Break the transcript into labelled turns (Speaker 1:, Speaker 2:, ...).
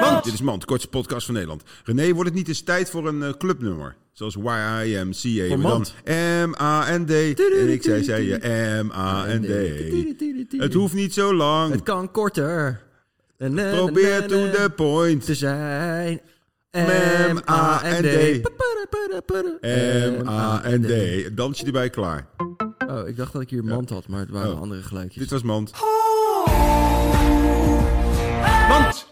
Speaker 1: Wat?
Speaker 2: Dit is Man, de kortste podcast van Nederland. René, wordt het niet eens tijd voor een eh, clubnummer? Zoals YIMCA.
Speaker 1: Voor
Speaker 2: maar dan
Speaker 1: Mand.
Speaker 2: M-A-N-D. En ik zei, zei je M-A-N-D. Het hoeft niet zo
Speaker 1: Het
Speaker 2: lang.
Speaker 1: kan korter. Na, na, na,
Speaker 2: Probeer
Speaker 1: na,
Speaker 2: to
Speaker 1: na,
Speaker 2: the point.
Speaker 1: te zijn.
Speaker 2: M-A-N-D.
Speaker 1: M-A-N-D.
Speaker 2: M-A-N-D. Dansje erbij klaar.
Speaker 1: Oh, ik dacht dat ik hier mand
Speaker 2: Oh.
Speaker 1: had, maar het waren andere geluidjes.
Speaker 2: Dit was Mand.
Speaker 3: Want